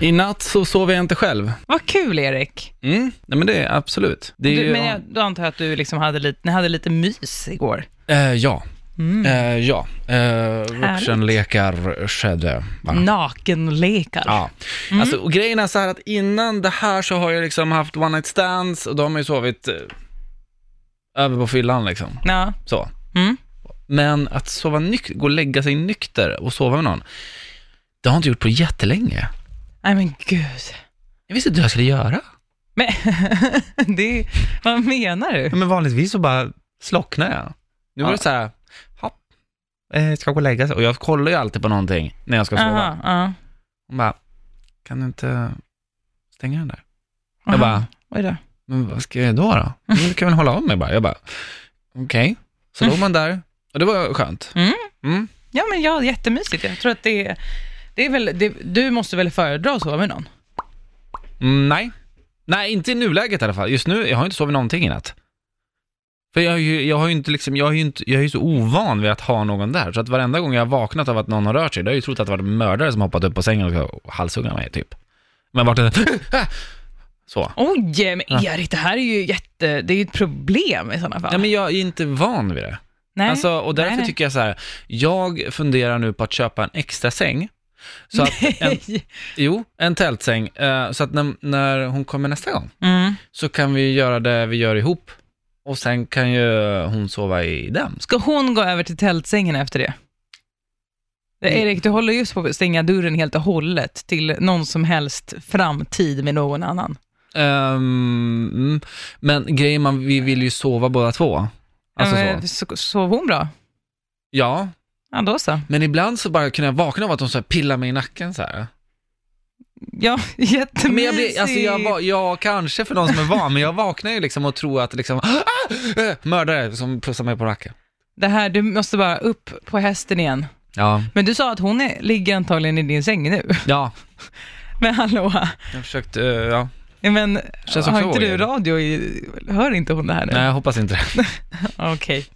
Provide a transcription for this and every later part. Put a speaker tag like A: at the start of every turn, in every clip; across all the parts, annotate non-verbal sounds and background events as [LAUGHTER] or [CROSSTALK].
A: I natt så sover jag inte själv.
B: Vad kul Erik.
A: Mm. Nej men det är absolut. Det är
B: Du,
A: ju,
B: men jag, då antar jag att du liksom hade lite, ni hade lite mys igår.
A: Eh, ja,
B: Mm.
A: eh, ja. Eh, vuxenlekar skedde. va?
B: Mm. Nakenlekar.
A: Ja.
B: Mm.
A: Alltså, och grejen är så här att innan det här så har jag liksom haft one night stands och då har man ju sovit eh, över på fyllan liksom.
B: Ja.
A: Så.
B: Mm.
A: Men att sova nyk- gå och lägga sig nykter och sova med någon, det har jag inte gjort på jättelänge.
B: Nej men gud.
A: Jag visste inte hur jag skulle göra.
B: Men, [LAUGHS] det, är- vad menar du?
A: Ja, men vanligtvis så bara slocknar jag. Nu var
B: Ja.
A: det så här, hopp, eh, ska gå och lägga sig. Och jag kollar ju alltid på någonting när jag ska sova.
B: Aha, ja.
A: Hon bara, kan du inte stänga den där?
B: Aha.
A: Jag bara,
B: Oj då.
A: men vad ska jag göra då? då? Men du kan väl hålla av mig bara? Jag bara, okej. Så låg man där, och det var skönt.
B: Mm.
A: Mm.
B: Ja men ja, jättemysigt. Jag tror att det, det är väl, det, du måste väl föredra att sova med någon?
A: Mm, nej. Nej, inte i nuläget i alla fall. Just nu, jag har inte sovit någonting i natt. För jag, är ju- jag har ju inte liksom, jag har ju inte, jag är ju så ovan vid att ha någon där. Så att varenda gång jag har vaknat av att någon har rört sig, då har jag ju trott att det varit en mördare som hoppat upp på sängen och ska halshugga mig typ. Men vart det [LAUGHS] så.
B: Oj, men Erik, det här är ju jätte, det är ju ett problem i sådana fall.
A: Ja, men jag är inte van vid det.
B: Nej.
A: Alltså, och därför
B: Nej, nej.
A: tycker jag så här, jag funderar nu på att köpa en extra säng. Så
B: [LAUGHS]
A: att en, jo, en tältsäng. eh, så att när, när hon kommer nästa gång
B: Mm.
A: så kan vi göra det vi gör ihop. Och sen kan ju hon sova i den.
B: Ska hon gå över till tältsängen efter det? Det-
A: Mm.
B: Erik, du håller just på att stänga dörren helt och hållet till någon som helst framtid med någon annan.
A: Ehm, mm. men grejen man, vi vill ju sova båda två. Alltså
B: Ja,
A: så.
B: men so- Sov hon bra?
A: Ja,
B: Ja, då så.
A: men ibland så bara kunde jag vakna av att de så här pillar mig i nacken så här.
B: Ja, [LAUGHS] jättemysigt.
A: Men jag blir, alltså jag var, ja kanske för någon som är van, men jag vaknar ju liksom och tror att liksom, ah, eh, mördare som pussar mig på nacken.
B: Det här, du måste bara upp på hästen igen.
A: Ja,
B: Men du sa att hon är, ligger antagligen i din säng nu. [LAUGHS]
A: ja,
B: Men hallå,
A: jag försökte, eh, ja.
B: ja, men
A: Känns
B: har
A: också
B: inte du
A: vågad.
B: radio i, hör inte hon det här nu?
A: Nej, jag hoppas inte det.
B: Okej.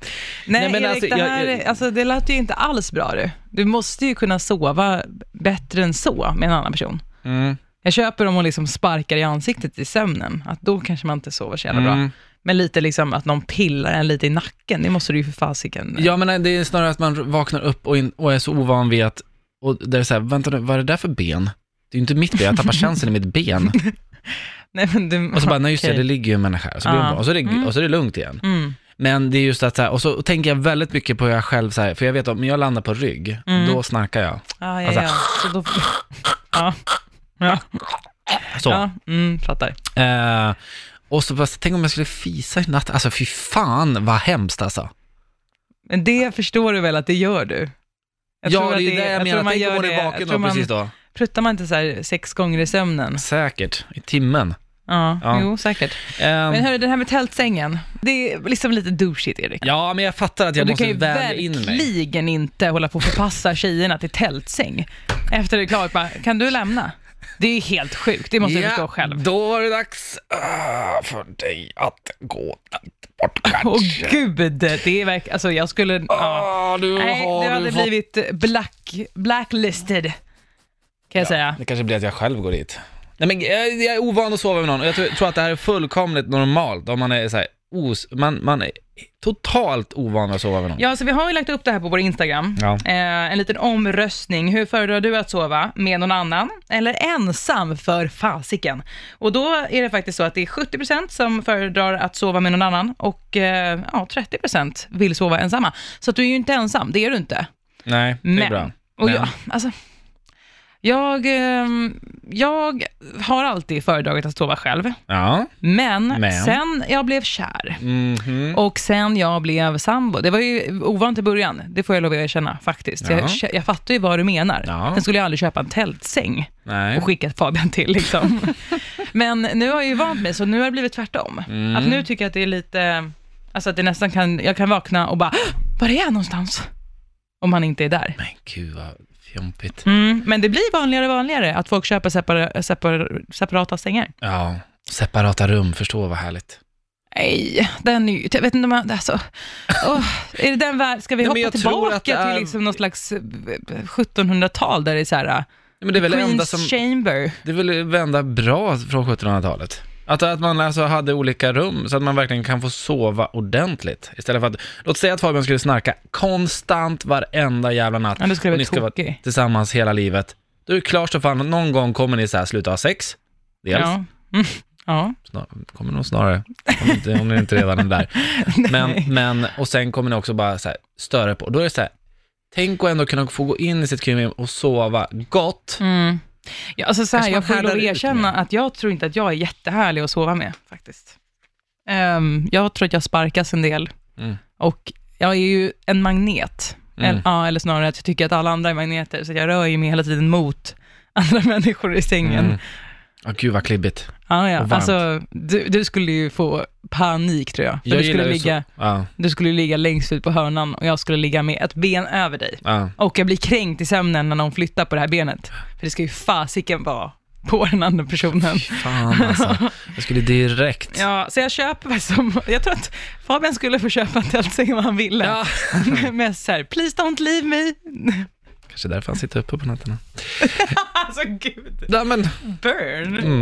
A: Nej,
B: Nej,
A: men
B: Erik,
A: alltså,
B: det,
A: jag-
B: här,
A: jag-
B: Alltså, det lät ju inte alls bra du. Du måste ju kunna sova bättre än så med en annan person.
A: Mm,
B: Jag köper om hon liksom sparkar i ansiktet i sömnen, att då kanske man inte sover så jävla bra.
A: mm.
B: Men lite liksom att någon pillar en lite i nacken, det måste du ju för fasiken...
A: Ja, men nej, det är snarare att man vaknar upp och, in, och är så ovan vid att, och där är det så här, vänta nu, vad är det där för ben? Det är ju inte mitt ben, jag
B: [LAUGHS]
A: tappar känslan i mitt ben.
B: [LAUGHS] Nej, men du...
A: Och så bara, nej just det,
B: Okej.
A: det ligger ju en människa här. Så blir
B: Ja.
A: hon bra. och, så är det, och så är det lugnt igen.
B: Mm.
A: Men det är just att så här, och så tänker jag väldigt mycket på hur jag själv, så här, för jag vet att om jag landar på rygg,
B: Mm.
A: då snarkar jag.
B: Ja, ja,
A: Alltså.
B: ja. Så då... [LAUGHS] Ja. Ja.
A: Så.
B: ja. Mm, fattar.
A: Eh, och så bara, tänk om jag skulle fisa i natt, alltså fy fan vad hemskt alltså.
B: Men det förstår du väl att det gör du? Jag
A: ja,
B: tror
A: det är
B: att
A: ju det jag
B: tror
A: menar,
B: man
A: tänk
B: gör
A: om hon
B: det-
A: är
B: jag
A: vaken
B: tror
A: då,
B: man-
A: precis då.
B: Pruttar man inte så här sex gånger i sömnen?
A: Säkert, i timmen.
B: Ja,
A: Ja.
B: jo säkert.
A: Ehm,
B: Men hörru, den här med tältsängen, det är liksom lite douchigt Erik.
A: ja, men jag fattar att jag
B: du
A: måste
B: kan ju
A: väga in mig.
B: verkligen inte hålla på och förpassa tjejerna till tältsäng. Efter det är klart, bara, kan du lämna? Det är ju helt sjukt, det måste jag förstå själv.
A: då var det dags ah, för dig att gå bort kanske.
B: [LAUGHS] Åh gud, det är verkligen, alltså jag skulle, ja.
A: ah, du
B: Nej,
A: har
B: du
A: du
B: hade
A: fått...
B: blivit black, blacklisted, kan jag säga.
A: Det kanske blir att jag själv går dit. Nej, men jag, jag är ovan att sova med någon och jag tror, tror att det här är fullkomligt normalt om man är så här, os, man, man är totalt ovan att sova med någon.
B: Ja, så vi har ju lagt upp det här på vår Instagram.
A: Ja.
B: Eh, en liten omröstning. Hur föredrar du att sova? Med någon annan eller ensam för fasiken? Och då är det faktiskt så att det är 70% som föredrar att sova med någon annan och eh, ja, 30% vill sova ensamma. Så att du är ju inte ensam, det är du inte.
A: Nej, det är
B: Men,
A: bra.
B: och
A: Men.
B: jag, alltså, jag, ehm, jag har alltid föredragit att sova själv,
A: Ja.
B: men,
A: Men.
B: sen jag blev kär,
A: Mhm.
B: och sen jag blev sambo, det var ju ovant i början, det får jag lov att erkänna faktiskt.
A: Ja.
B: Jag, jag fattar ju vad du menar.
A: Ja.
B: Sen skulle jag aldrig köpa en tältsäng
A: Nej.
B: och skicka Fabian till liksom.
A: [LAUGHS]
B: Men nu har jag ju vant mig, så nu har det blivit tvärtom.
A: Mm.
B: Att nu tycker jag att det är lite, alltså att det nästan kan, jag kan vakna och bara, "Hå! var är jag någonstans? Om han inte är där.
A: Men gud vad fjompigt.
B: Mm, men det blir vanligare och vanligare att folk köper separa, separ- separata sängar.
A: Ja, separata rum, förstå vad härligt.
B: Nej, den är ju, jag vet inte om man, alltså, åh, är det den värld, ska vi
A: Nej, men
B: hoppa
A: jag tror
B: tillbaka
A: att det är-
B: till liksom någon slags eh, 1700-tal där det är så här,
A: Nej, men det är väl det enda
B: Queens
A: som,
B: Chamber.
A: det är väl det enda bra från 1700-talet. Att, att man alltså hade olika rum så att man verkligen kan få sova ordentligt. Istället för att, låt säga att Fabian skulle snarka konstant varenda jävla natt.
B: Ja, då skulle jag
A: och
B: bli
A: ni ska vara
B: tokig.
A: tillsammans hela livet. Då är det klart så fan att någon gång kommer ni så här sluta ha sex. Dels,
B: Ja. Mm. Ja.
A: snar, kommer nog snarare, om, inte, om ni inte redan är
B: [LAUGHS]
A: där.
B: Nej.
A: Men, men, och sen kommer ni också bara så här, störa på. Och Då är det så här, tänk att ändå kunna få gå in i sitt krimhem och sova gott.
B: Mm. Ja, alltså så här,
A: Kanske
B: jag
A: man
B: får lov att
A: härdar ut
B: erkänna att jag tror inte att jag är jättehärlig att sova med faktiskt. Ehm, jag tror att jag sparkas en del
A: Mm.
B: och jag är ju en magnet.
A: Mm.
B: Eller, ja, eller snarare att jag tycker att alla andra är magneter, så att jag rör ju mig hela tiden mot [LAUGHS] andra människor i sängen.
A: Mm. Åh, gud vad klibbigt.
B: Ja, ja.
A: Och varmt.
B: Alltså, du, du skulle ju få panik tror jag. För
A: Jag
B: du, skulle
A: gillar ju
B: ligga,
A: så- Ja,
B: du skulle ligga längst ut på hörnan och jag skulle ligga med ett ben över dig.
A: ja.
B: Och jag blir kränkt i sömnen när någon flyttar på det här benet. För det ska ju fasiken vara på den andra personen.
A: Fan alltså.
B: [LAUGHS]
A: Jag skulle direkt...
B: Ja, så jag köper väl som, jag tror att Fabian skulle få köpa en tältsäng om han ville.
A: Ja.
B: [LAUGHS] Men så här, please don't leave me. [LAUGHS]
A: Kanske därför han sitter uppe på nätterna.
B: alltså gud,
A: Nej, men,
B: burn.